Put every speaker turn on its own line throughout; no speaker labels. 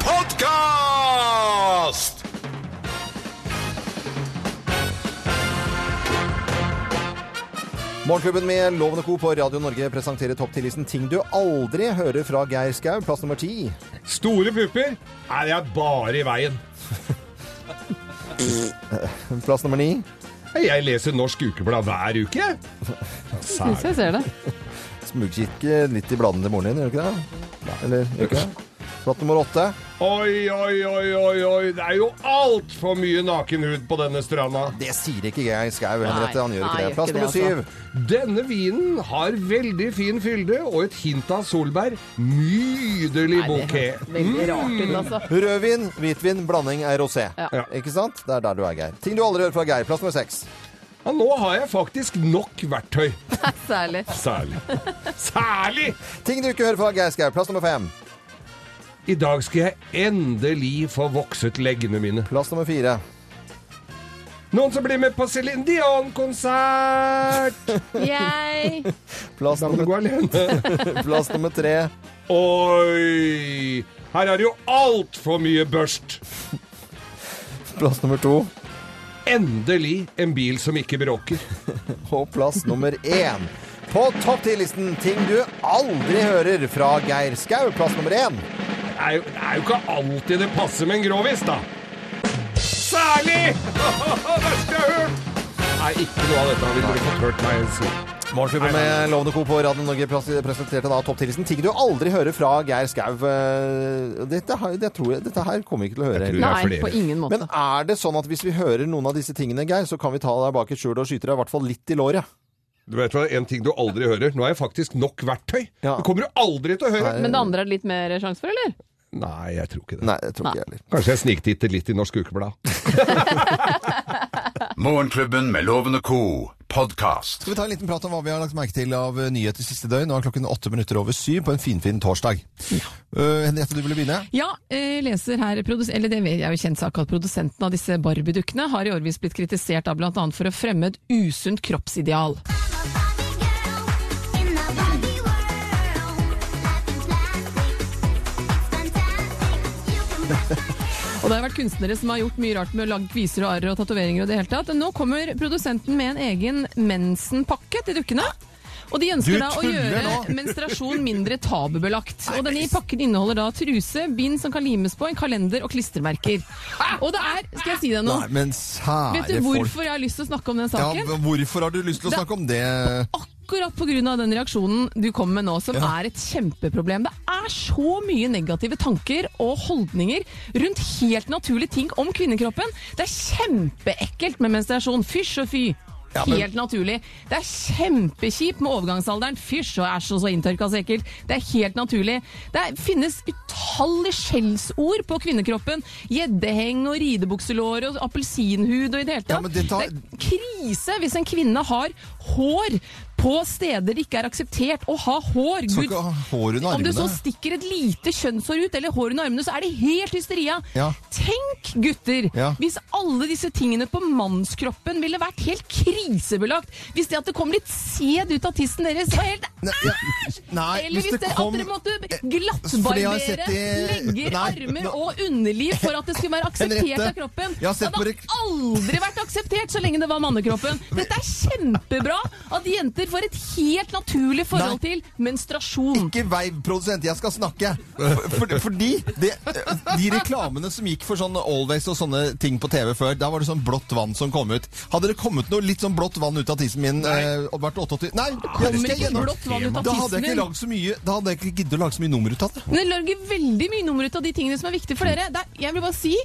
podkast!
Morgenklubben med Loven og Co. på Radio Norge presenterer topp 10-listen ting du aldri hører fra Geir Skau, plass nummer ti.
Store pupper? Nei, det er bare i veien.
Plass nummer ni.
Jeg leser Norsk Ukeblad hver uke, jeg.
Syns jeg ser det.
Smugkikke litt i bladene til moren din, gjør du ikke det? Eller gjør du ikke det? Plass nummer åtte.
Oi, oi, oi, oi, oi. Det er jo altfor mye nakenhud på denne stranda.
Det sier ikke Geir Skau, Henriette. Han gjør
nei,
ikke det.
gjør
Plass
ikke
nummer
det, altså.
syv.
Denne vinen har veldig fin fylde og et hint av solbær. Nydelig
Nei, det
bouquet. Mm.
høres veldig rart ut, altså.
Rødvin, hvitvin, blanding er rosé.
Ja.
Ja.
Ikke sant? Det er der du er, Geir. Ting du aldri hører fra Geir. Plass nummer seks.
Ja, nå har jeg faktisk nok verktøy.
Særlig.
Særlig. Særlig!
Ting du ikke hører fra Geir Skau. Plass nummer fem.
I dag skal jeg endelig få vokset leggene mine.
Plass nummer fire.
Noen som blir med på Céline Dion-konsert!
Jeg
Plass
Da må du
nummer,
gå alene.
plass nummer tre.
Oi! Her er det jo altfor mye børst.
Plass nummer to.
Endelig en bil som ikke bråker.
på plass nummer én. På topp 10-listen ting du aldri hører fra Geir Skau, plass nummer én.
Det er jo, det er jo ikke alltid det passer med en grovis, da. Særlig! Verste jeg har hørt! Nei, ikke noe av dette ville dere fått hørt altså. meg si.
Morgenklubben med Lovende Co. på Radio Norge pres- presenterte da topp 10-listen ting du aldri hører fra Geir Skau. Eh, Dette, her- det tror jeg, dette her kommer vi ikke til å høre.
tror
heller.
jeg.
Nei,
flere.
på ingen
Men
måte.
er det sånn at hvis vi hører noen av disse tingene, Geir, så kan vi ta deg bak et skjul og skyte deg i hvert fall litt i låret?
Du vet hva, En ting du aldri hører. Nå har jeg faktisk nok verktøy.
Ja.
Det kommer du aldri til å høre.
Men det andre er det litt mer sjanse for, eller?
Nei, jeg tror ikke det.
Nei, jeg tror ikke jeg heller.
Kanskje jeg sniktitter litt i Norsk Ukeblad.
Morgenklubben med Loven og co. podkast.
Skal vi ta en liten prat om hva vi har lagt merke til av eh, nyheter siste døgn? Nå er klokken åtte minutter over syv på en finfin torsdag. Eh, Henriette, du ville begynne?
Ja, eh, leser her, produs- eller det er jo kjent sak at produsenten av disse Barbie-dukkene har i årevis blitt kritisert av bl.a. for å fremme et usunt kroppsideal. Og det har vært kunstnere som har gjort mye rart med å lage kviser og arrer og tatoveringer og det hele tatt. Nå kommer produsenten med en egen mensenpakke til dukkene. Og de ønsker
Du
da å
tuller
gjøre
nå!
menstruasjon mindre tabubelagt. Og denne pakken inneholder da truse, bind som kan limes på, en kalender og klistremerker. Og det er, skal jeg si deg noe,
Nei, men sære
Vet du hvorfor jeg har lyst til å snakke om den
Ja,
saken?
men hvorfor har du lyst til å
Det-
snakke om det?
Akkurat pga. den reaksjonen du kom med nå, som
Ja.
er et kjempeproblem. Det er så mye negative tanker og holdninger rundt helt naturlige ting om kvinnekroppen. Det er kjempeekkelt med menstruasjon. Fysj og fy.
Ja, men-
Helt naturlig. Det er kjempekjipt med overgangsalderen. Fysj og æsj og så inntørka så ekkelt. Det er helt naturlig. Det er, finnes utallige skjellsord på kvinnekroppen. Gjeddeheng og ridebukselår og appelsinhud og i det hele
Ja,
tatt.
men det tar-
Det er krise hvis en kvinne har hår på steder det ikke er akseptert å ha hår.
Skal
Gud,
ikke ha hår under
om du så
armene.
stikker et lite kjønnshår ut, eller hår under armene, så er det helt hysteria.
Ja.
Tenk, gutter,
Ja.
hvis alle disse tingene på mannskroppen ville vært helt krisebelagt. Hvis det at det kom litt sæd ut av tissen deres var helt
Nei, ja. Nei,
Eller hvis det, at dere måtte
Eh, Fordi jeg har
glattbarbere
sett i-
legger,
Nei,
armer
nå-
og underliv for at det skulle være akseptert
Henriette,
av kroppen.
jeg har sett på
det
rek-
hadde aldri vært akseptert så lenge det var mannekroppen. Dette er kjempebra at jenter får et helt naturlig forhold
Nei.
til menstruasjon.
Ikke veiv, produsent, jeg skal snakke. For, for, fordi det, de reklamene som gikk for sånn Always og sånne ting på TV før, der var det sånn blått vann som kom ut. Hadde det kommet noe litt sånn blått vann ut av tissen min eh, og vært 88 Nei,
Kommer
det skal jeg
ikke
gjennom.
blått vann ut av
Da hadde jeg
tissen
ikke
din.
lagd så mye Da hadde jeg ikke giddet å lage så mye nummer ut av det.
Men det lager veldig mye nummer ut av de tingene som er viktige for dere. Det er, jeg vil bare si,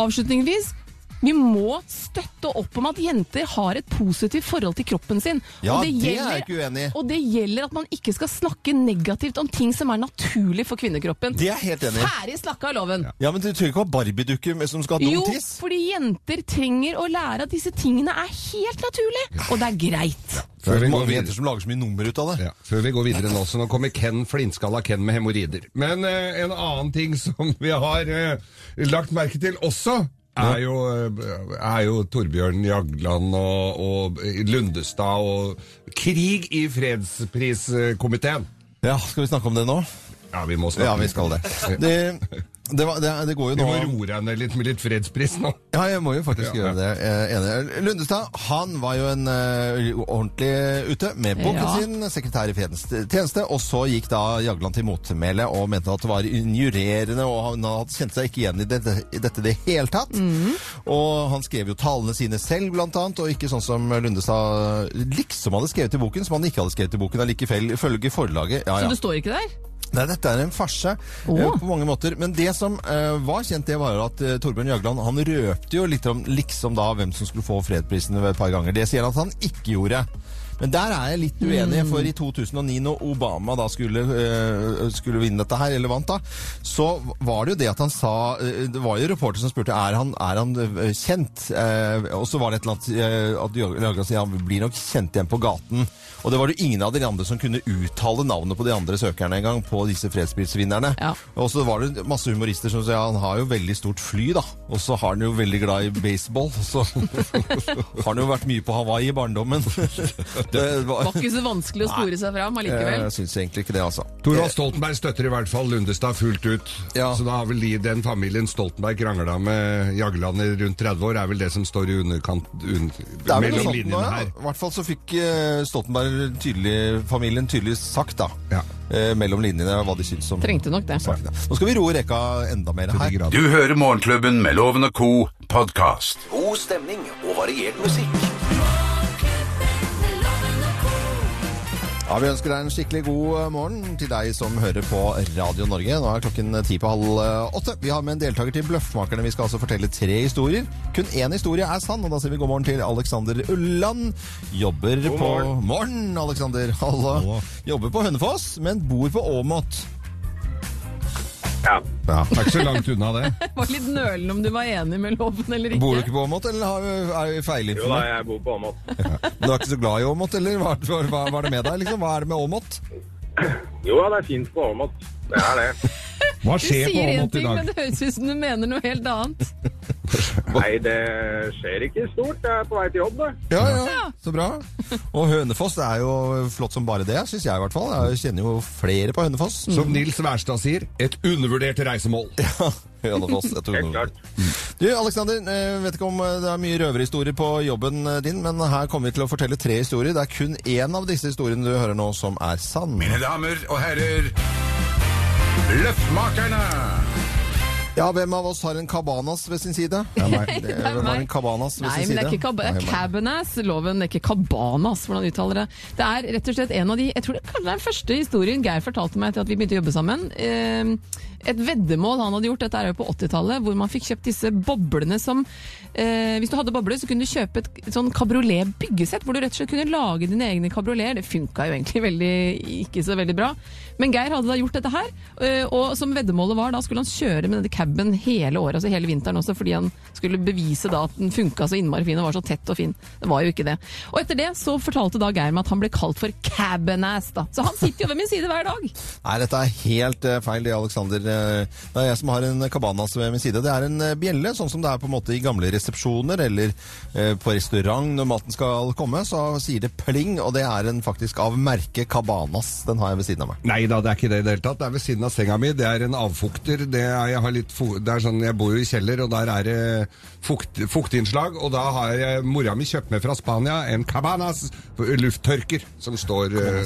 avslutningsvis Vi må støtte opp om at jenter har et positivt forhold til kroppen sin.
Ja, det er jeg ikke uenig i.
Og det gjelder at man ikke skal snakke negativt om ting som er naturlig for kvinnekroppen.
Det er jeg helt enig i.
Ferdig snakka, Loven!
Ja, men Du trenger ikke ha Barbie-dukke med- som skal ha
Jo,
dum tiss.
fordi jenter trenger å lære at disse tingene er helt naturlig, og det er greit.
Det
Før
er
vi går
mange
videre.
jenter som lager så mye nummer ut av det.
Ja, før vi går videre nå, så nå kommer Ken Flintskalla Ken med hemoroider. Men eh, en annen ting som vi har eh, lagt merke til også, er jo, eh, er jo Torbjørn Jagland og, og Lundestad og krig i fredspriskomiteen.
Ja, Skal vi snakke om det nå?
Ja, vi må snakke.
Ja, vi skal det. Det, det, var, det, det går jo
Du
nå
må roe deg ned litt med litt fredspris nå.
Ja, jeg må jo faktisk
Ja.
gjøre det. eh, Enig. Lundestad han var jo en eh, ordentlig ute med boken
Ja.
sin, sekretær i fredens tjeneste, og så gikk da Jagland til motmæle og mente at det var injurerende, og han hadde- kjente seg ikke igjen i dette i dette i det hele tatt.
Mhm.
Og han skrev jo talene sine selv, blant annet, og ikke sånn som Lundestad liksom hadde skrevet i boken, som han ikke hadde skrevet i boken allikevel, ifølge forlaget. Ja,
Så
ja.
du står ikke der?
Nei, dette er en farse
Åh.
eh, på mange måter. Men det som eh, var kjent, det var jo at eh, Torbjørn Jagland han røpte jo litt om liksom da hvem som skulle få fredsprisen ved et par ganger. Det sier han at han ikke gjorde. Men der er jeg litt uenig, for i 2009, når Obama da skulle, eh, skulle vinne dette her, eller vant da, så var det jo det at han sa eh, Det var jo reporter som spurte er han, er han eh, kjent. Eh, og så var det et eller annet eh, at Jag- Jagland sier han blir nok kjent igjen på gaten. Og det var jo ingen av de andre som kunne uttale navnet på de andre søkerne engang, på disse fredsprisvinnerne.
Ja.
Og så var det masse humorister som sa ja, han har jo veldig stort fly, da. Og så har han jo veldig glad i baseball. Så har han jo vært mye på Hawaii i barndommen. det var,
Var ikke så vanskelig å spore seg fram allikevel.
jeg syns egentlig ikke det, altså.
Thorvald Stoltenberg støtter i hvert fall Lundestad fullt ut.
Ja.
Så da har vel de, den familien Stoltenberg krangla med Jagland i rundt 30 år, er vel det som står i underkant un,
Det er vel noe
mellom
sånt sånn, nå,
linjene
ja.
her.
I hvert fall så fikk eh, Stoltenberg tydelig, familien tydelig sagt, da.
Ja.
Eh, mellom linjene hva de syns om
Trengte nok det.
sakene. Nå skal vi roe rekka enda mer her.
Du hører Morgenklubben med Loven og Co. podkast.
God stemning og variert musikk.
Ja, Vi ønsker deg en skikkelig god eh, morgen til deg som hører på Radio Norge. Nå er klokken eh, ti på halv åtte. Vi har med en deltaker til Bløffmakerne. Vi skal altså fortelle tre historier. Kun én historie er sann, og da sier vi god morgen til Alexander Ulland. Jobber på morgen. Alexander. Halla. Jobber på Hønefoss, men bor på Åmot. Ja.
Det er ikke så langt unna det.
Jeg var litt nølende om du var enig med loven eller ikke.
Bor du ikke på Åmot, eller har vi- er vi
Jo da,
feilinformert?
jeg bor på Åmot.
Du er ikke så glad i Åmot, eller? Hva, hva, hva er det med deg, liksom? Hva er det med Åmot?
Jo da, det er fint på Åmot. Det er det.
Hva
Du
skjer på
sier én
Åmot i
ting, men
dag?
det høres ut som du mener noe helt annet.
Nei, det skjer ikke stort. Jeg er på vei til jobb, det.
Ja, ja, så bra. Og Hønefoss det er jo flott som bare det, syns jeg i hvert fall. Jeg kjenner jo flere på Hønefoss.
Mm.
Som Nils Wærstad sier, et undervurdert reisemål.
Hønefoss, jeg tror
Helt klart.
Du, Alexander, eh, vet ikke om eh, det er mye røverhistorier på jobben eh, din, men her kommer vi til å fortelle tre historier. Det er kun én av disse historiene du hører nå, som er sann.
Mine damer og herrer, Løftmakerne!
Ja, hvem av oss har en cabanas ved sin side? Ja,
meg.
Det, hvem har en cabanas ved
Nei,
sin
men det
side?
er ikke kab
Nei, meg.
Cabanas. Loven det er ikke Cabanas, hvordan uttaler det. Det er rett og slett en av de Jeg tror det kan være den første historien Geir fortalte meg etter at vi begynte å jobbe sammen. Eh, Et veddemål han hadde gjort, dette er jo på 80-tallet, hvor man fikk kjøpt disse boblene som eh, Hvis du hadde boble, så kunne du kjøpe et k- sånn kabriolet byggesett, hvor du rett og slett kunne lage dine egne kabrioleter. Det funka jo egentlig veldig, ikke så veldig bra. Men Geir hadde da gjort dette her, eh, og som veddemålet var, da skulle han kjøre med denne caben hele året, altså hele vinteren også, fordi han skulle bevise da at den funka så innmari fin og var så tett og fin. Det var jo ikke det. Og etter det så fortalte da Geir meg at han ble kalt for cabenass, da. Så han sitter jo ved min side hver dag.
Nei, dette er helt eh, feil, det, Alexander. Eh, Det er jeg som har en cabanas ved min side. Det er en eh, bjelle, sånn som det er på en måte i gamle resepsjoner eller eh, på restaurant når maten skal komme. Så sier det pling, og det er en faktisk av merket cabanas. Den har jeg ved siden av meg.
Nei da, det er ikke det i det hele tatt. Det er ved siden av senga mi. Det er en avfukter. Det er, jeg, har litt fo det er sånn, jeg bor jo i kjeller, og der er det fukt, fuktinnslag. Og da har jeg, mora mi kjøpt med fra Spania en Cabanas eh, lufttørker som står, eh,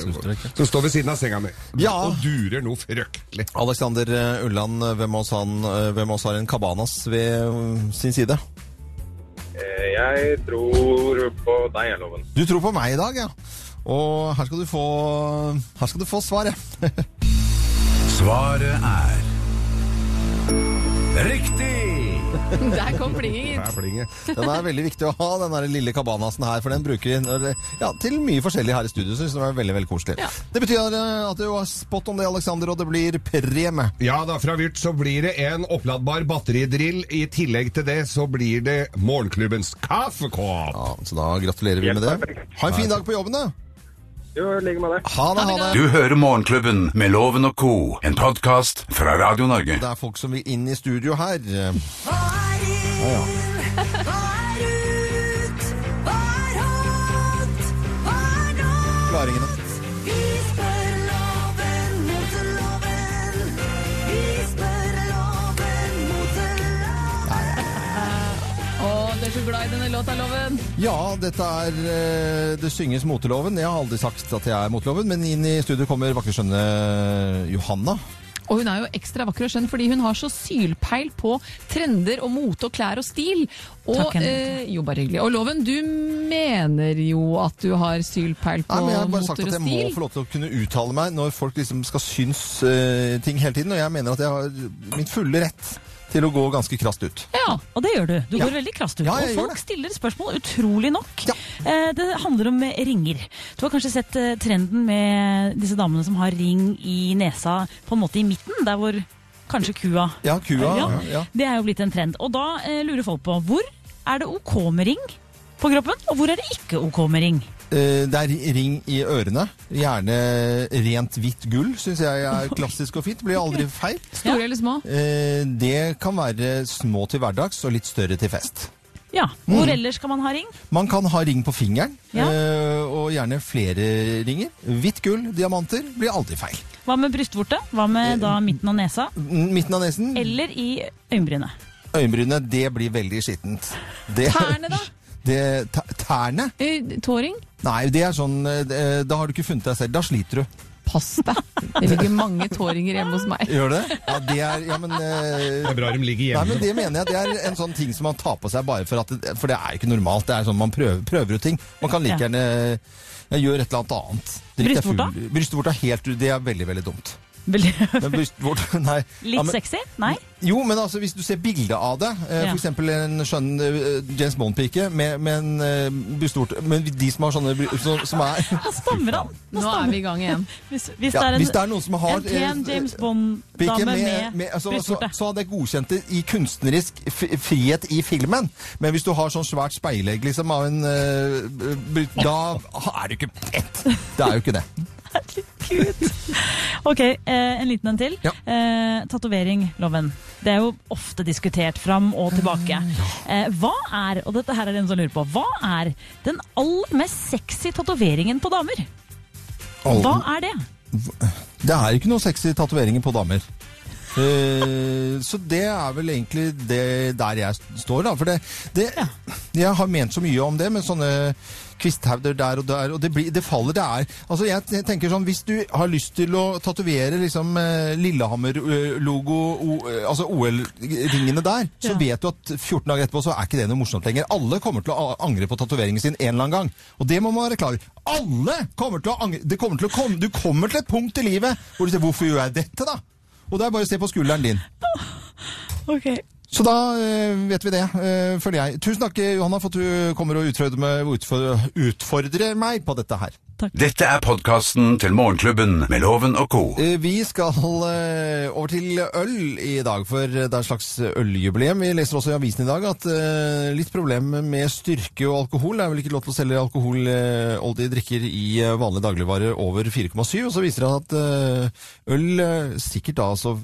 som står ved siden av senga mi.
Ja.
Og durer noe frøktelig.
Alexander eh, Ulland, eh, hvem av oss, han, eh, hvem av oss har en cabanas ved eh, sin side?
Eh, Jeg tror på deg, jeg, Loven.
Du tror på meg i dag, ja. Og her skal du få, her skal du få svar, ja.
Svaret er Riktig!
Der kom plingen,
Det
gitt.
er plinget.
Den er veldig viktig å ha, den der lille kabanasen her, for den bruker vi når, ja, til mye forskjellig her i studio. Synes det var veldig, veldig koselig.
Ja.
Det betyr eh, at du har spot om det, Alexander, og det blir premie.
Ja da, fra Vyrt så blir det en oppladbar batteridrill. I tillegg til det så blir det morgenklubbens kaffekopp.
Ja, så da gratulerer vi
Helt
med det.
perfekt.
Ha en fin dag på jobben, da.
Jo, ligg med det.
Ha det, ha det.
Du hører Morgenklubben med Loven og Co., en podkast fra Radio Norge.
Det er folk som vil inn i studio her.
Hva er inn? Hva er ut? Hva er hot? Hva er not?
Klaringene.
Vi spør loven mot loven. Vi spør loven mot loven.
Å, du er så glad i denne låta, Loven.
Ja, dette er eh, Det synges moteloven. Jeg har aldri sagt at jeg er moteloven, men inn i studio kommer vakre, skjønne Johanna.
Og hun er jo ekstra vakker og skjønn fordi hun har så sylpeil på trender og mote og klær og stil. Og,
Takk, Henriette.
eh, jo, bare hyggelig. Og Loven, du mener jo at du har sylpeil på
Nei, men jeg har bare sagt
moter og
at jeg må
stil?
få lov til å kunne uttale meg når folk liksom skal syns eh, ting hele tiden, og jeg mener at jeg har min fulle rett til å gå ganske krast ut.
Ja, og det gjør du. Du går veldig krast ut.
Ja, jeg
og
gjør
folk
det.
stiller spørsmål, utrolig nok.
Ja.
Eh, det handler om eh, ringer. Du har kanskje sett eh, trenden med disse damene som har ring i nesa på en måte i midten, der hvor kanskje kua
Ja, kua. Ja,
Ja.
ja.
Det er jo blitt en trend. Og da eh, lurer folk på hvor er det OK med ring på kroppen, og hvor er det ikke OK med ring?
Eh, det er ring i ørene. Gjerne rent hvitt gull, syns jeg er klassisk og fint. Blir aldri feil.
Store eller små?
Eh, det kan være små til hverdags og litt større til fest.
Ja,
Mm.
Hvor ellers kan man ha ring?
Man kan ha ring på fingeren,
Ja.
eh, og gjerne flere ringer. Hvitt gull, diamanter, blir aldri feil.
Hva med brystvorte? Hva med
Eh,
da midten av nesa?
N- Midten av nesen,
Eller i øyenbrynet?
øyenbrynene, det blir veldig skittent. Det-
Tærne, da?
Det, tæ- tærne?
Eh, Tåring?
Nei, det er sånn eh, Da har du ikke funnet deg selv. Da sliter du.
Pass deg. Det ligger mange tåringer hjemme hos meg.
Gjør det? Ja, det er Ja, men eh,
Det er bra de ligger
Nei, men
hjemme.
Det mener jeg det er en sånn ting som man tar på seg bare for at det, For det er ikke normalt. Det er sånn man prøver, prøver ut ting. Man kan like
Ja.
gjerne jeg gjør et eller annet annet. Drikk deg full.
Brystvorta?
Brystvorta helt ut. Det er veldig, veldig dumt.
Veldig-
Men brystvorta, nei. Ja,
Litt
men-
sexy? Nei?
Jo, men altså, hvis du ser bilde av det, eh,
Ja.
for eksempel en skjønn eh, James Bond-pike med, med en eh, brystvorte Men de som har sånne bry- som, som er
Da stammer han! Da
Nå er
stammer.
vi i gang igjen.
Hvis, hvis,
ja,
det er en,
Hvis det er noen som har
en pen
eh,
James
Ikke
Bond-dame med,
altså, så,
brystvorte
så hadde jeg godkjent det i kunstnerisk f frihet i filmen. Men hvis du har sånn svært speilegg liksom, av en eh, bry- Da er det jo ikke pett! Det er jo ikke det.
Gud. Ok, eh, en liten en til.
Ja.
Eh, Tatovering, loven. Det er jo ofte diskutert fram og tilbake.
Mm,
Eh, hva er, og dette her er det en som lurer på, hva er den aller mest sexy tatoveringen på damer? Hva er det?
Det er ikke noe sexy tatoveringer på damer. Eh, så det er vel egentlig det der jeg står, da. For det, det Jeg har ment så mye om det, med sånne kvisthauger der og der, og det, blir, det faller det er. Altså jeg t- tenker sånn, Hvis du har lyst til å tatovere liksom, eh, Lillehammer-logo, o- eh, altså OL-ringene der, så
Ja.
vet du at 14 dager etterpå så er ikke det noe morsomt lenger. Alle kommer til å a- angre på tatoveringen sin en eller annen gang. Og det må man være klar over. Alle kommer til å angre det kommer til å komme, Du kommer til et punkt i livet hvor du sier 'hvorfor gjør jeg dette', da? Og det er bare å se på skulderen din. Så da eh, vet vi det, eh, føler jeg. Tusen takk, Johanna, for at du kommer og utfordrer meg, utfordrer, utfordrer meg på dette her.
Dette er podkasten til Morgenklubben med Loven og Co.
Eh, Vi skal eh, over til øl i dag, for det er et slags øljubileum. Vi leser også i avisen i dag at eh, litt problem med styrke og alkohol. Det er vel ikke lov til å selge alkoholholdige drikker i eh, vanlige dagligvarer over 4,7. Og så viser det at eh, øl eh, sikkert da altså eh,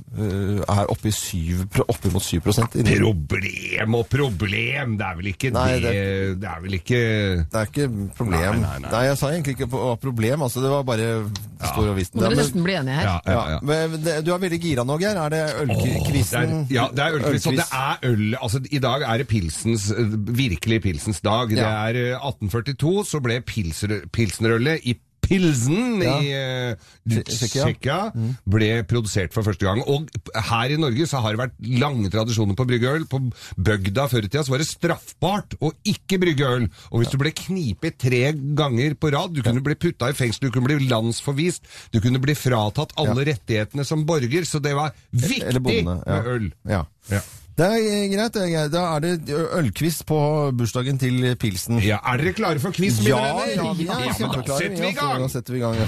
er oppe i 7, pro- oppimot 7 i Norge.
Problem og problem, det er vel ikke
Nei,
det Det er vel ikke
Det er ikke problem. Nei,
Nei, nei, nei.
jeg sa egentlig ikke på- problem, altså. Det var bare det står i avisen.
Må
Ja,
dere
men-
nesten bli enige her.
ja, ja, ja.
ja, men det- Du er veldig gira nå, Geir. Er det
Det er,
ølkvissen?
ja, det er ølquiz. Og det er øl altså, I dag er det pilsens, eh, virkelig pilsens dag.
Ja.
Det er eh, 1842, så ble pilser, pilsnerølet i Pilsen
Ja. Mm.
i eh,
Tsjekkia.
Tsjekkia ble produsert for første gang. Og her i Norge så har det vært lange tradisjoner på å brygge øl. På bygda før i tida så var det straffbart å ikke brygge øl. Og hvis du ble knipet tre ganger på rad, du kunne bli putta i fengsel, du kunne bli landsforvist, du kunne bli fratatt alle rettighetene som borger, så det var viktig
Eller bonde. Ja.
med øl.
Ja.
Ja.
Det Det er eh, greit. det er greit. Da er det ølquiz på bursdagen til Pilsen.
Ja, er dere klare for quiz,
ja,
mine venner?
vi er
men da
kjempeklare.
setter vi i
Ja, så
gang!
Da setter vi i gang. Ja.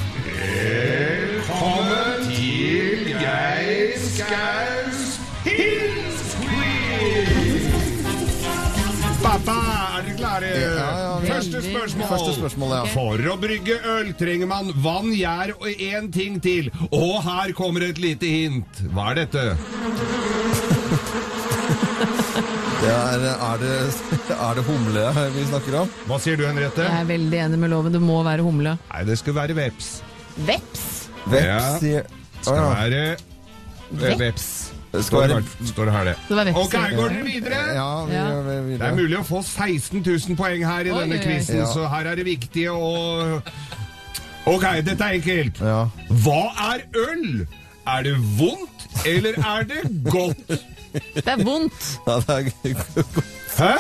Velkommen til Geir Skaus Hills-quiz! Pappa, er dere klare?
ja, vi-
Første spørsmål.
Første spørsmål, ja.
For å brygge øl trenger man vann, gjær og én ting til. Og her kommer et lite hint. Hva er dette?
Det er, er, det, er det humle vi snakker om?
Hva sier du, Henriette?
Jeg er veldig enig med loven. Det må være humle.
Nei, det skal være veps.
Veps?
Ja.
Veps i Å
Det skal
ja.
være eh, veps.
Det skal
Står det
være
her- står det her, det.
Det var veps,
Ok,
ja.
går dere videre?
Ja, vi
Ja.
gjør det
Det er
videre.
mulig å få 16 000 poeng her i
Oi,
denne
oi, oi.
quizen,
Ja.
så her er det viktig å Ok, dette er enkelt.
Ja.
Hva er øl? Er det vondt, eller er det godt?
Det er vondt.
Ja, det er jeg,
Hæ?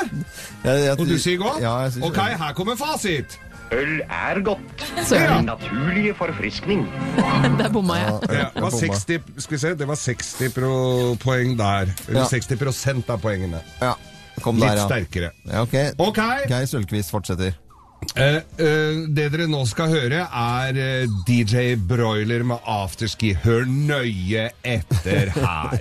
jeg,
Og du sier godt?
Ja, jeg synes
ok, her kommer fasit.
Øl er godt.
Søren,
Naturlig forfriskning.
der bomma jeg.
Ja, det var
bomma.
60, skal vi se, det var 60 pro poeng der. Eller
Ja.
60 prosent av poengene.
Ja. Kom
Litt
der, ja.
sterkere.
ja ok.
Ok,
Geir Sølvquist fortsetter.
eh, eh, det dere nå skal høre er eh, DJ Broiler med afterski. Hør nøye etter her.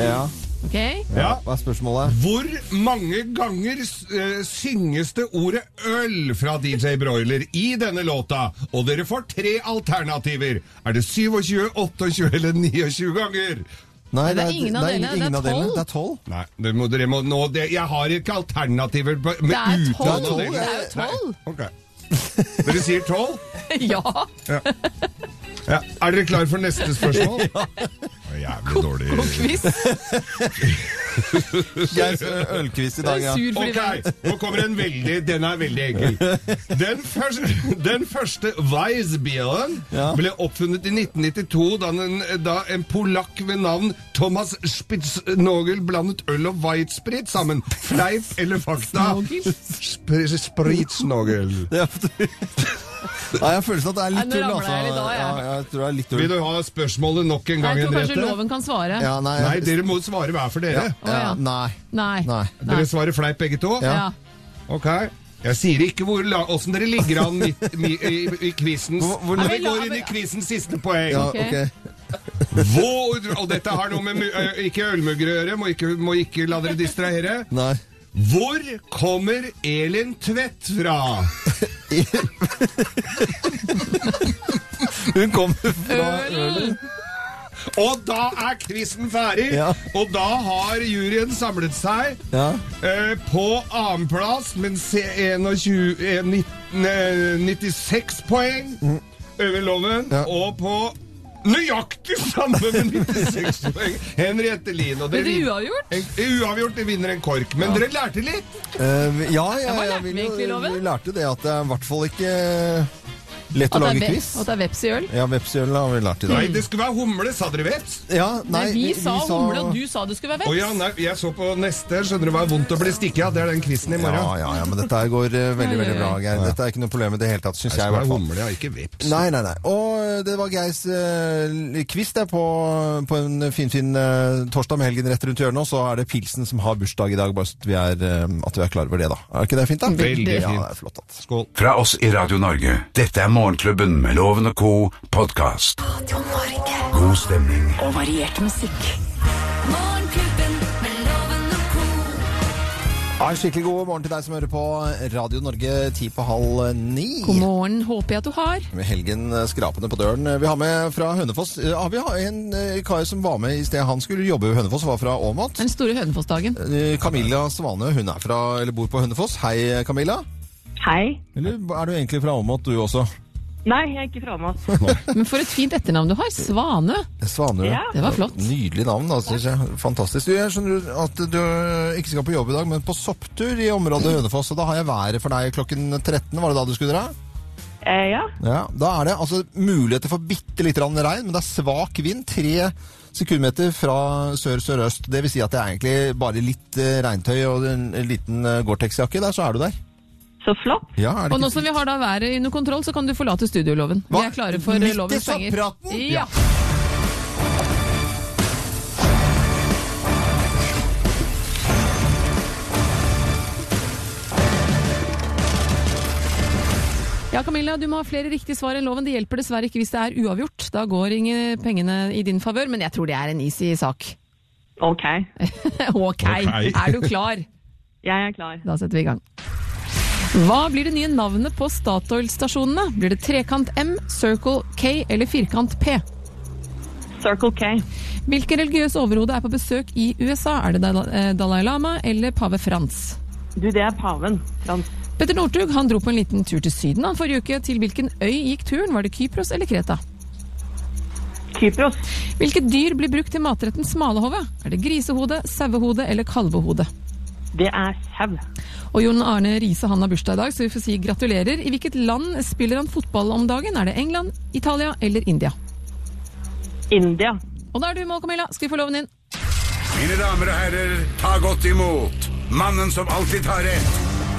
Ja.
Ok?
Ja.
Hva er spørsmålet?
Hvor mange ganger eh, synges det ordet øl fra DJ Broiler i denne låta? Og dere får tre alternativer. Er det 27, 28 eller 29 ganger?
Nei,
det er ingen av
nei,
delene. Det er
ingen av delene.
tolv.
Det er tolv.
Nei, det må, dere må nå det, Jeg har ikke alternativer på- med
Det er
uten
tolv.
noe del.
Det er jo tolv.
Nei, ok. Dere sier tolv?
Ja.
Ja. Er dere klar for neste spørsmål? Ja. Jævlig dårlig.
God quiz.
Geir Sø- Ølquiz eh, i dag, ja.
Sur fordi
Ok,
det
nå kommer en veldig Den er veldig enkel. Den første, den første Weissbieren
Ja.
ble oppfunnet i 1992 da en, da en polakk ved navn Thomas Spitznogel blandet øl og Weizsprit sammen. Fleip eller fakta? Spr- Spritznogel.
Det er Nei, jeg føler at det er litt
Nei, nå
tull,
ramler
altså.
jeg litt av, jeg.
Ja, jeg tror det er litt
Vil
tull.
du ha spørsmålet nok en
Nei,
gang,
Jeg tror kanskje
Henriette?
loven kan svare.
Ja, nei,
Nei,
jeg-
dere må svare hver for dere.
Å, ja.
ja, nei.
Nei.
Nei.
Nei.
Dere svarer fleip begge to?
Ja.
Ok. Jeg sier ikke hvor la- åssen dere ligger an midt, mi, i, i quizens
Hvor- hvor-
Ja,
Når vi
men la-
går inn i quizens siste poeng.
Ja,
Ok.
ok.
Hvor, og dette har noe med mu- ø, ikke ølmugger å gjøre, må ikke, må ikke la dere distrahere.
Nei.
Hvor kommer Elin Tvedt fra?
Hun kommer fra
Øl.
Og da er quizen ferdig!
Ja.
Og da har juryen samlet seg.
Ja.
Eh, på annenplass, men C21 eh, nitten- eh, 96 poeng over loven.
Mm. Ja.
Og på nøyaktig samme med 96 poeng Henriette Lien. Og
Ble det
vin-
uavgjort?
en, uavgjort, det vinner en kork. Men dere lærte litt.
Eh, ja, ja,
hva
ja,
lærte
vi,
vi egentlig, Loven?
vi lærte det at det er i hvert fall ikke eh, lett å
At det
lage
er
quiz.
veps, at det er veps i øl?
Ja, vepsøl har vi lært i
Nei,
dag.
det skulle være humle, sa dere vet.
Ja,
Nei, vi,
vi-
sa humle, og du sa det skulle være
Å
veps.
ja, nei, jeg så på neste. Skjønner du hva er vondt å bli stikket av? Det er den quizen i morgen.
Ja, ja, ja, men dette her går eh, veldig,
Oi, oi,
veldig bra,
oi.
Geir. Dette er ikke noe problem i det hele tatt, syns
Det
jeg. i
skal
hvert
være
fall.
humle, ja, ikke vips.
Nei, nei, nei. Og det var Geirs eh, quiz der på, på en finfin fin, eh, torsdag med helgen rett rundt hjørnet, og så er det Pilsen som har bursdag i dag, bare så at vi er, eh, at vi er klar over det, da. Er ikke det fint, da?
Veldig
Ja,
fint.
det er flott, altså.
Skål.
Fra oss i Radio Norge, dette er Morgenklubben med Loven og Co. podkast.
Radio Norge.
God stemning
Og variert musikk.
Morgenklubben med Loven og co.
Ja, en skikkelig god morgen til deg som hører på Radio Norge ti på halv eh, ni.
God morgen, håper jeg at du har.
Med helgen eh, skrapende på døren. Vi har med fra Hønefoss eh, Ja, vi har en eh, kar som var med i sted han skulle jobbe i Hønefoss, var fra Åmot.
Den store Hønefoss-dagen.
Eh, Camilla Svanø, hun er fra, eller bor på Hønefoss. Hei, Camilla.
Hei.
Eller er du egentlig fra Åmot, du også?
Nei, jeg er ikke fra Åmås.
Men for et fint etternavn du har. Svanø.
Svanø.
Ja.
Det var flott.
Nydelig navn, da, synes jeg. Fantastisk. Du, jeg skjønner at du ikke skal på jobb i dag, men på sopptur i området Hønefoss. Og da har jeg været for deg klokken 13, var det da du skulle dra?
Eh, ja.
Ja, Da er det altså muligheter for bitte litt rann regn, men det er svak vind. Tre sekundmeter fra sør-sørøst. Det vil si at det er egentlig bare litt eh, regntøy og en liten eh, Gore-Tex-jakke der, så er du der.
Så flott.
Ja, er det
Og nå
ikke
som vi har da været under kontroll, så kan du forlate studioloven. Vi
Hva?
er klare for
Midt i
eh, lovens penger.
sopppraten?
Ja. Ja, Camilla, du må ha flere riktige svar enn loven. Det hjelper dessverre ikke hvis det er uavgjort. Da går ingen pengene i din favør, men jeg tror det er en easy sak.
Ok,
ok, er du klar?
jeg er klar.
Da setter vi i gang. Hva blir det nye navnet på Statoil-stasjonene? Blir det trekant M, Circle K eller firkant P?
Circle K.
Hvilke religiøse overhode er på besøk i USA? Er det Dala- eh, Dalai Lama eller pave Frans?
Du, det er paven. Frans.
Petter Northug han dro på en liten tur til Syden han forrige uke. Til hvilken øy gikk turen? Var det Kypros eller Kreta?
Kypros.
Hvilke dyr blir brukt til matretten smalahove? Er det grisehode, sauehode eller kalvehode?
Det er sau.
Og Jon Arne Riise han har bursdag i dag, så vi får si gratulerer. I hvilket land spiller han fotball om dagen? Er det England, Italia eller India?
India.
Og da er du i mål, Camilla. Skal vi få loven inn?
Mine damer og herrer, ta godt imot mannen som alltid tar rett,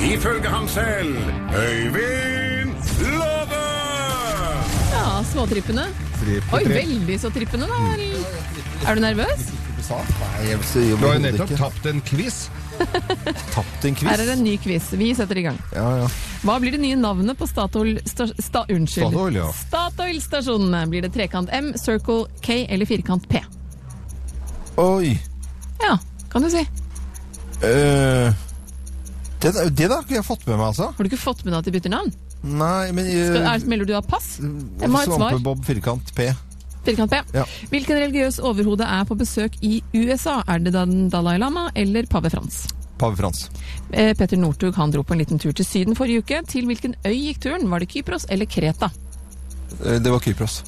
ifølge ham selv, Øyvind Låve!
Ja, småtrippene.
tripp
Oi,
og tripp.
veldig så trippende, da. Er du nervøs?
Nei, jeg
Du har jo
overhodet
nettopp
ikke
tapt en quiz.
tapt en
Her
quiz.
er en ny quiz. Vi setter i gang.
Ja, ja.
Hva blir det nye navnet på Statoil sta, sta, Unnskyld.
Statoil, ja.
Statoil-stasjonene. Blir det trekant M, Circle K eller firkant P?
Oi.
Ja, kan du si.
øh, det, det der har ikke jeg fått med meg, altså.
Har du ikke fått med deg at de bytter navn?
Nei, men øh,
Skal, er, melder du da pass?
mm,
Jeg må ha et svar.
Svampebob firkant P.
Firkant P.
Ja.
Hvilken religiøs overhode er på besøk i USA? Er det Dan- Dalai Lama eller pave Frans?
Pave Frans.
Eh, Petter Northug han dro på en liten tur til Syden forrige uke. Til hvilken øy gikk turen? Var det Kypros eller Kreta?
Eh, Det var Kypros.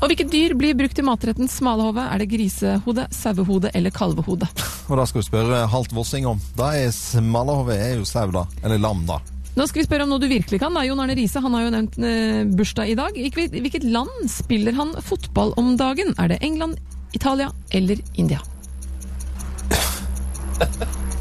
Og hvilket dyr blir brukt i matretten smalahove? Er det grisehode, sauehode eller kalvehode?
Og da skal vi spørre Haltvossing om. Da er Smalahove er jo sau, da. Eller lam, da.
Nå skal vi spørre om noe du virkelig kan. da. Jon Arne Riise han har jo nevnt eh, bursdag i dag. I hvil- hvilket land spiller han fotball om dagen? Er det England, Italia eller India?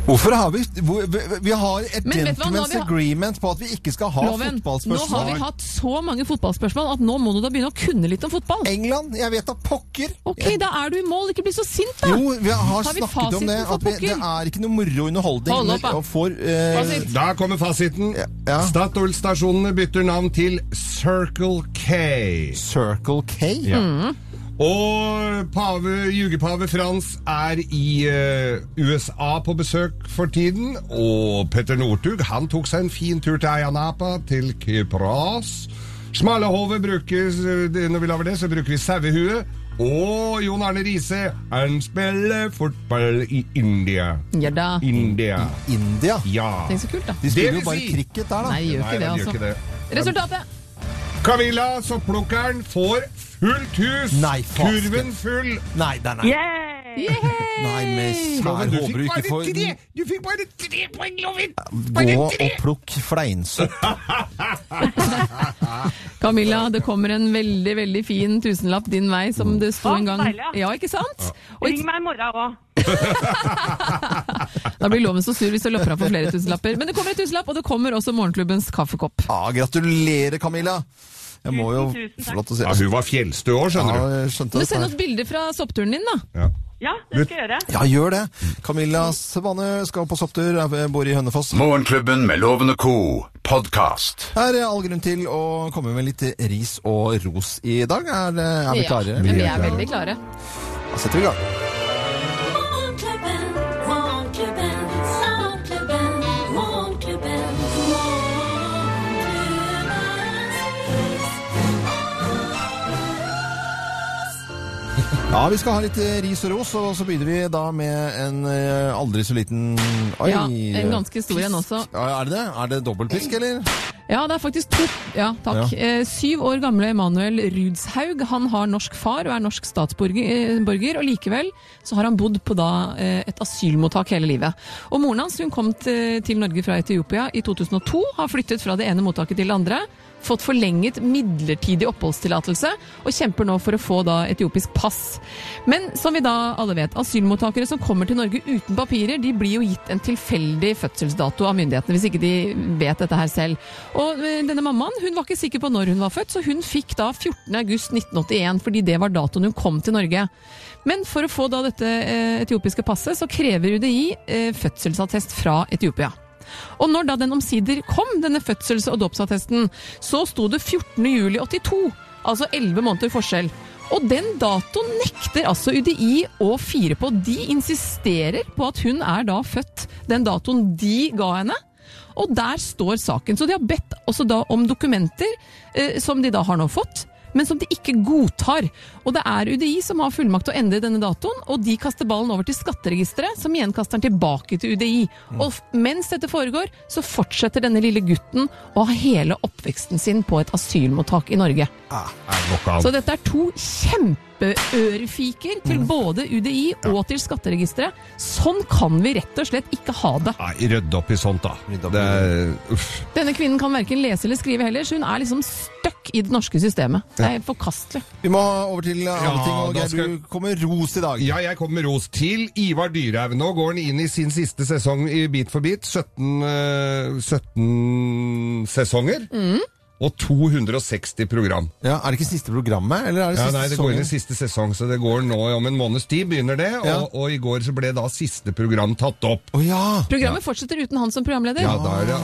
Hvorfor har vi hvor, vi- Vi har et
Men vet du hva, nå har
gentleman's
vi ha-
agreement på at vi ikke skal ha
Loven, nå har
fotballspørsmål.
vi hatt så mange fotballspørsmål at nå må du da begynne å kunne litt om fotball.
England, jeg vet da pokker!
Ok, da er du i mål. Ikke bli så sint, da!
Jo, vi har,
Har vi
snakket om
fasiten
det.
for
At vi,
pokker?
det er ikke noe moro underholdning.
Hold opp, da.
og får, eh,
Fasit.
Da kommer fasiten.
Ja, ja.
Statoil-stasjonene bytter navn til Circle K.
Circle K.
Og pave, jugepave Frans er i eh, USA på besøk for tiden. Og Petter Northug han tok seg en fin tur til Ayanapa, til Kypros. Smalahove brukes eh, det- Når vi lager det, så bruker vi sauehue. Og Jon Arne Riise, han spiller fotball i India.
Ja da.
India.
India.
Ja.
Tenk så kult, da.
De spiller
vil
jo bare
si-
cricket der, da.
Nei, gjør ikke
Nei,
det,
de gjør
altså.
ikke det.
Resultatet!
Camilla, sopplukkeren, får fullt hus.
Nei, faen.
Kurven full.
Nei, nei, nei.
Yay!
Nei, men sær
Loven, du
håper du
fikk
ikke
bare
får
tre! Du fikk bare tre poeng, Loven! Bare
Gå
tre!
og plukk fleinsopp.
Camilla, det kommer en veldig veldig fin tusenlapp din vei, som det sto
Å,
en gang.
deilig, ja.
Ja, ikke sant? Og
Ring
i-
meg i morgen òg.
da blir loven så sur hvis du løper av for flere tusenlapper. Men det kommer en tusenlapp, og det kommer også morgenklubbens kaffekopp.
Ja, gratulerer, Camilla! Jeg må jo
Tusen, tusen
få
takk.
lov til å
Ja,
si
hun var fjellstø òg,
ja,
skjønner du.
jeg skjønte
Du
det.
Send oss bilder fra soppturen din, da.
Ja.
Ja, det skal jeg gjøre.
Ja, gjør det. Camilla Svane skal på sopptur, jeg bor i Hønefoss.
Morgenklubben med Loven og Co. podkast.
Her er all grunn til å komme med litt ris og ros i dag. Er, det- er vi klare?
Ja, vi er veldig klare.
Da setter vi i gang.
Morgenklubben, morgenklubben, morgenklubben, morgenklubben, morgenklubbens
Ja, vi skal ha litt eh, ris og ros, og så begynner vi da med en eh, aldri så liten Oi!
Ja, en ganske stor en også.
Ja, er det det? Er det dobbeltpisk, eller?
Ja, det er faktisk to Ja, takk. Eh, syv år gamle Emanuel Rudshaug. Han har norsk far og er norsk statsborger, eh, borger, og likevel så har han bodd på da eh, et asylmottak hele livet. Og moren hans, hun kom til, til Norge fra Etiopia i 2002, har flyttet fra det ene mottaket til det andre. fått forlenget midlertidig oppholdstillatelse og kjemper nå for å få da etiopisk pass. Men som vi da alle vet, asylmottakere som kommer til Norge uten papirer, de blir jo gitt en tilfeldig fødselsdato av myndighetene, hvis ikke de vet dette her selv. Og eh, denne mammaen hun var ikke sikker på når hun var født, så hun fikk da 14.8.1981, fordi det var datoen hun kom til Norge. Men for å få da dette eh, etiopiske passet, så krever UDI eh, fødselsattest fra Etiopia. Og når da den omsider kom, denne fødsels- og dåpsattesten, så sto det 14. juli 82, altså 11 måneder forskjell. Og den datoen nekter altså UDI å fire på. De insisterer på at hun er da født den datoen de ga henne. Og der står saken. Så de har bedt også da om dokumenter, eh, som de da har nå fått, men som de ikke godtar. Og det er UDI som har fullmakt til å endre denne datoen, og de kaster ballen over til skatteregisteret, som igjen kaster den tilbake til UDI. Og f- mens dette foregår, så fortsetter denne lille gutten å ha hele oppveksten sin på et asylmottak i Norge. Så dette er to kjempeørefiker til både UDI og til skatteregisteret. Sånn kan vi rett og slett ikke ha det.
Nei, Rødd opp i sånt, da. Det er, uff.
Denne kvinnen kan verken lese eller skrive heller, så hun er liksom stuck i det norske systemet. Det er forkastelig.
Vi må over til eh, andre
Ja,
ting. Og
da
Geir,
skal-
du kommer med ros i dag.
Ja, jeg kommer med ros til Ivar Dyrhaug. Nå går han inn i sin siste sesong i Bit for bit. 17, eh, 17 sesonger. Og 260 program.
Ja, er det ikke siste programmet, eller er det
Ja,
siste
nei, Det går inn i siste sesong, så det går nå om en måneds tid. begynner det,
Ja.
og, og i går så ble da siste program tatt opp.
Å ja!
Programmet fortsetter uten han som programleder.
Ja, da er det...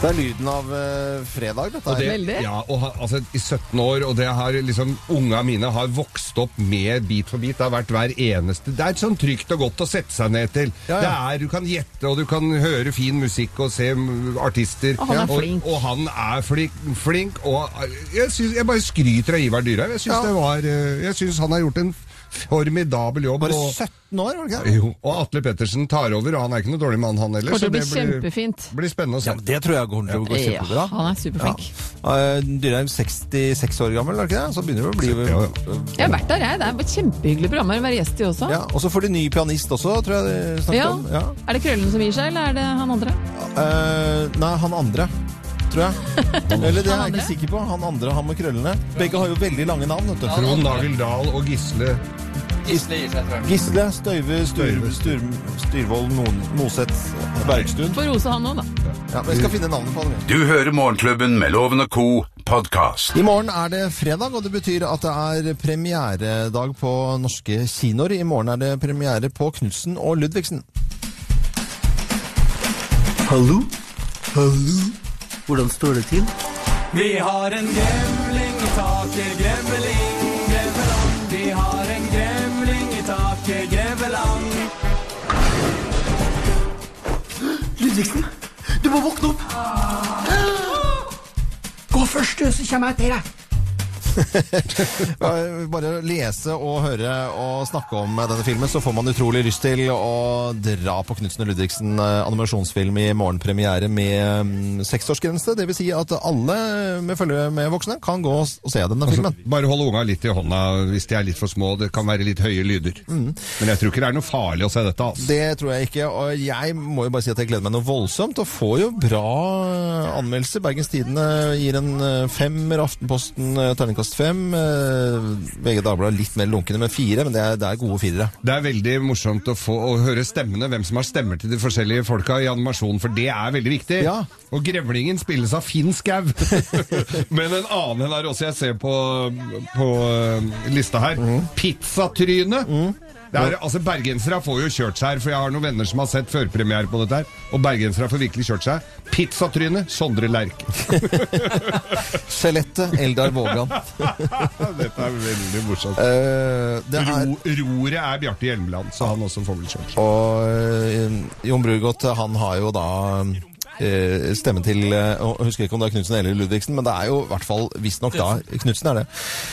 Det er lyden av eh, fredag, dette her.
Og det,
Veldig.
ja, og ha, altså, I 17 år, og det har liksom Unga mine har vokst opp med Bit for bit. Det har vært hver eneste Det er sånn trygt og godt å sette seg ned til.
Ja, ja.
Det er, Du kan gjette, og du kan høre fin musikk og se mm, artister.
Og han er flink.
Og, og han er flink, flink og jeg, synes, jeg bare skryter av Ivar Dyrhaug. Jeg syns
Ja.
det var, eh, jeg synes han har gjort en formidabel jobb.
Bare
og,
17 år, var det ikke det?
jo, og Atle Pettersen tar over, og han er ikke noe dårlig mann, han heller.
Kommer til å bli
blir,
kjempefint.
blir spennende å se.
Ja, men det tror jeg kommer til å gå
Ja,
kjempebra.
han er superflink.
Ja. Eh, Dyrheim 66 år gammel, er det ikke det? Så begynner det å bli
Ja,
Jeg har vært der, jeg. Det er et kjempehyggelig program å være gjest i også.
Ja, og så får de ny pianist også, tror jeg de snakket
Ja.
om. Ja.
Er det krøllene som gir seg, eller er det han andre?
Eh, nei, han andre, tror jeg. Eller det er jeg
andre?
ikke sikker på. Han andre, han med krøllene. Begge har jo veldig lange navn. vet du.
Trond Nagel Dahl og Gisle
Gisle Støyve Stur, Stur, Styrvold Mon- Moseth Bergstuen.
Får rose han òg, da.
Ja, men jeg skal finne navnet på han.
Du hører Morgenklubben med Loven og Co. podkast.
I morgen er det fredag, og det betyr at det er premieredag på norske kinoer. I morgen er det premiere på Knutsen og Ludvigsen.
Hallo? Hallo? Hvordan står det til?
Vi har en grevling i taket, grevling, greveland. Vi har en grevling i taket, greveland.
Ludvigsen, du må våkne opp! Gå først, du, så kommer jeg etter deg.
Eh, Bare å lese og høre og snakke om eh, denne filmen, så får man utrolig lyst til å dra på Knutsen og Ludvigsen eh, animasjonsfilm i morgenpremiere med mm, seksårsgrense. Det vil si at alle med følge med voksne kan gå og s- og se denne filmen.
Bare hold unga litt i hånda hvis de er litt for små. Det kan være litt høye lyder. Men jeg tror ikke det er noe farlig å se dette. Altså.
Det tror jeg ikke, og jeg må jo bare si at jeg gleder meg noe voldsomt, og får jo bra eh, anmeldelser. Bergens Tidende gir en eh, femmer, Aftenposten eh, terningkast fem, eh, VG Dagbladet litt mer lunkende med fire, men det er, det er gode firere.
Det er veldig morsomt å, få, å høre stemmene, hvem som har stemmer til de forskjellige folka i animasjonen, for det er veldig viktig.
Ja.
Og Grevlingen spilles av Finn Skau. Men en annen en her også jeg ser på, på eh, lista her. Pizzatryne. Det er, altså Bergensere får jo kjørt seg her, for jeg har noen venner som har sett førpremiere på dette her. Og bergensere får virkelig kjørt seg. Pizzatryne, Sondre Lerche.
Skjelettet, Eldar Vågan.
Dette er veldig morsomt.
Eh, det er...
Ro, roret er Bjarte Hjelmeland, så han også får vel kjørt.
Og eh, Jon Brugodt, han har jo da eh, stemme til eh, og Jeg husker ikke om det er Knutsen eller Ludvigsen, men det er jo i hvert fall visstnok da Knutsen er det.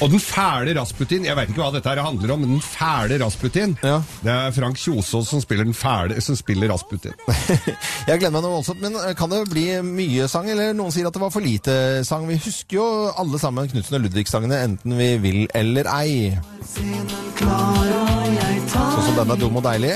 Og den fæle Rasputin, jeg veit ikke hva dette her handler om, men den fæle Rasputin. Det er Frank Kjosås som spiller den fæle som spiller Rasputin.
Jeg gleder meg noe voldsomt, men eh, kan det bli mye sang? Eller noen sier at det var for lite sang. Vi husker jo alle sammen Knutsen og Ludvig-sangene, enten vi vil eller ei. Sånn som den er dum og deilig.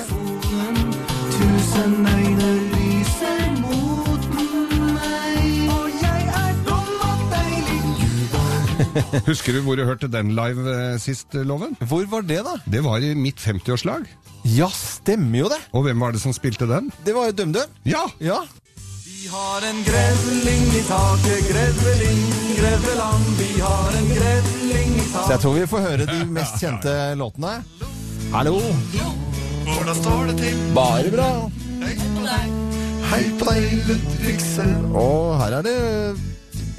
Tusen øyne lyser mot meg, og jeg er dum og deilig.
Husker du hvor du hørte den live eh, sist, eh, Loven?
Hvor var det, da?
Det var i mitt 50-årslag.
Ja, stemmer jo det.
Og hvem var det som spilte den?
Det var jo DumDum.
Ja!
ja.
Vi har en grevling i taket, grevling, greveland. Vi har en grevling i
Så jeg
taket.
tror vi får høre de mest kjente låtene. Hallo.
Hvordan står det til?
Bare bra.
Hei på deg, Ludvigsen.
Og her er det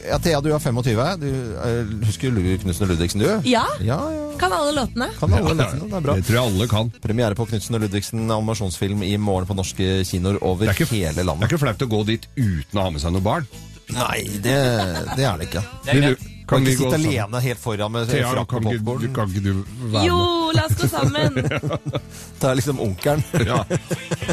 ja, Thea, du er 25. Du eh, husker Lu- Knutsen og Ludvigsen, du?
Ja.
ja, ja.
Kan alle låtene?
Kan alle låtene, det er bra.
Det tror jeg alle kan.
Premiere på Knutsen og Ludvigsen animasjonsfilm i morgen på norske kinoer over
Det er ikke-
hele
Det er
landet.
ikke flaut å gå dit uten å ha med seg noe barn.
Nei, det, det er det ikke.
Det er greit.
Kan
Kan vi
ikke
gå
sitte
sammen?
alene helt foran med
Thea,
frakk
kan
og
ikke, du,
popcorn.
kan ikke du være
Jo,
med?
la oss gå sammen!
Det er liksom onkelen.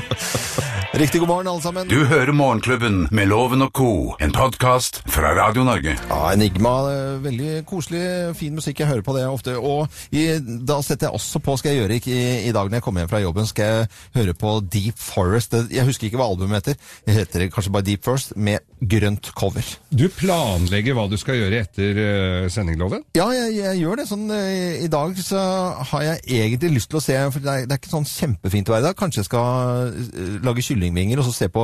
Riktig god morgen, alle sammen.
Du hører Morgenklubben med Loven og Co., en podkast fra Radio Norge.
Ja, Enigma. eh, Veldig koselig, fin musikk. Jeg hører på det ofte. Og i, da setter jeg også på, skal jeg gjøre ikke i, i dag når jeg kommer hjem fra jobben, skal jeg høre på Deep Forest. Det, jeg husker ikke hva albumet heter. Det heter kanskje bare Deep Forest, med grønt cover.
Du planlegger hva du skal gjøre etter eh, sendingloven?
Ja, jeg, jeg gjør det. Sånn, eh, I dag så har jeg egentlig lyst til å se For det er, det er ikke sånn kjempefint vær i dag. Kanskje jeg skal eh, lage kyllingvinger og så se på,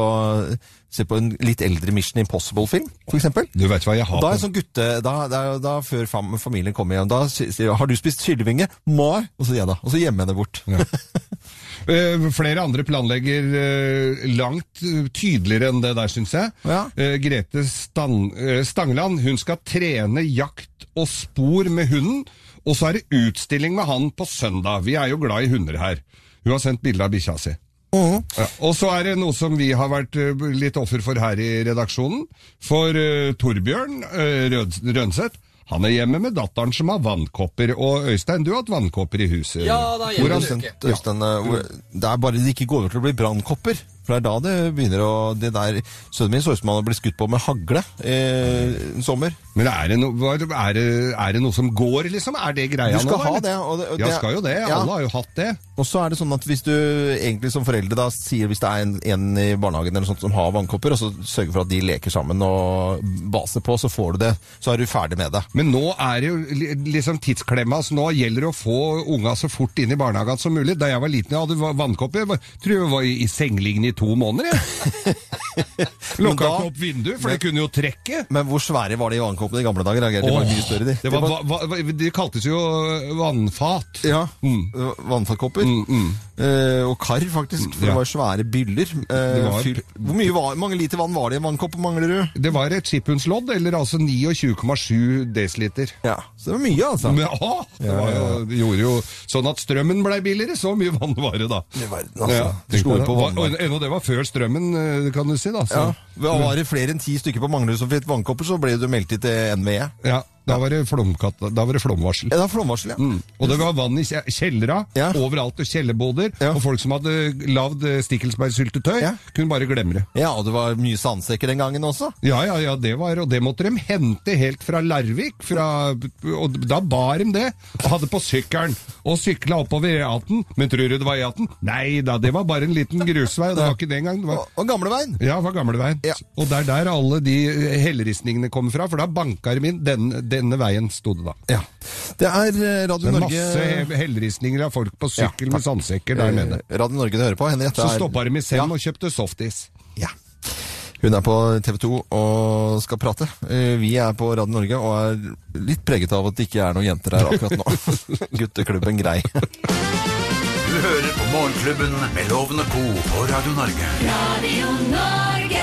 se på en litt eldre Mission Impossible-film, f.eks.
Du vet hva jeg har
Da er
på
jeg sånn gutte, da, da, da før fam- familien kommer hjem, da sier jeg, har du spist kyllingvinge? Nei. Og så sier jeg da, og så gjemmer jeg det bort.
Eh, Flere andre planlegger eh, langt eh, tydeligere enn det der, syns jeg. Eh, Grete Stan eh, Stangeland hun skal trene jakt og spor med hunden, og så er det utstilling med han på søndag. Vi er jo glad i hunder her. Hun har sendt bilde av bikkja si. Ja, og så er det noe som vi har vært eh, litt offer for her i redaksjonen. For eh, Torbjørn eh, Rød Rønseth, han er hjemme med datteren som har vannkopper. Og Øystein, du har hatt vannkopper i huset?
Ja, da, hjemme i
Hvordan-
uke.
Ja.
Øystein, eh, hvor- det er bare de ikke går over til å bli brannkopper. For det er da det begynner å det der, Sønnen min så ut som han hadde blitt skutt på med hagle eh, en sommer.
Men er det, no, hva er, det, er det- er det noe som går, liksom? Er det greia
Du skal
nå?
ha
eller?
det, og det- og
ja,
det-
skal jo det.
ja.
Alle har jo hatt det.
Og så er det sånn at hvis du egentlig som foreldre da sier hvis det er en, en i barnehagen eller sånt som har vannkopper, og så sørger for at de leker sammen og baser på, så får du det. Så er du ferdig med det.
Men nå er det jo li- liksom tidsklemma, så nå gjelder det å få unga så fort inn i barnehagen som mulig. Da jeg var liten, jeg hadde va- vannkopper. Jeg var- tror jeg var i i sengeliggende i to måneder, jeg.
Men
Lukka
da-
ikke opp vinduet, for det kunne jo trekke.
Men hvor svære var de vannkoppene i gamle dager? Geir? De var
Åh,
mye større, de.
Det, var, va, va, va- det kaltes jo øh, vannfat.
Ja, vannfatkopper. Eh, og kar, faktisk. For
Mm, Ja.
det var svære byller. Eh,
Det var-
fyll- Hvor mye var, mange liter vann var det i en vannkopp, mangler du?
Det var et skippundslodd, eller altså 29,7 desiliter.
Ja, så det var mye, altså.
Men, ja, det var jo, det gjorde jo sånn at strømmen blei billigere. Så mye vann var det da.
verden, altså.
tenk
Slo
på
inn
det.
på
Og-
vannverk.
og Ennå det var før strømmen, eh, kan du si. da.
Ja.
Så,
Var det flere enn ti stykker på Manglerud som fikk vannkopper, så ble du meldt til til NVE.
ja, da, var det flomkatt, da var det flomvarsel.
Ja, det er flomvarsel, ja.
Mm. Og det var vann i kje- kjellera, overalt og kjellerbåder. Og folk som hadde lagd eh, stikkelsbærsyltetøy, kunne bare glemme det.
Ja, og det var mye sandsekker den gangen også.
Ja, ja, ja, det var, og det måtte de hente helt fra Larvik, fra, og da bar de det, og hadde på sykkelen, og sykla oppover E18, men tror du det var E18? Nei da, det var bare en liten grusvei, og det var ikke det engang. Det var,
Og gamleveien?
Ja, det var gamleveien. Og det er der alle de eh, helleristningene kommer fra, for da banka de inn denne, denne veien, sto det da.
Det er eh, Radio
Det er
Norge
masse helleristninger av folk på sykkel med sandsekker der nede.
Eh, Radio Norge du hører på. Henriette
Så
er-
stoppa de i Sem og kjøpte softis.
Hun er på TV 2 og skal prate. Eh, Vi er på Radio Norge og er litt preget av at det ikke er noen jenter her akkurat nå. Gutteklubben grei.
Du hører på Morgenklubben med Loven og Co. på Radio Norge.
Radio Norge.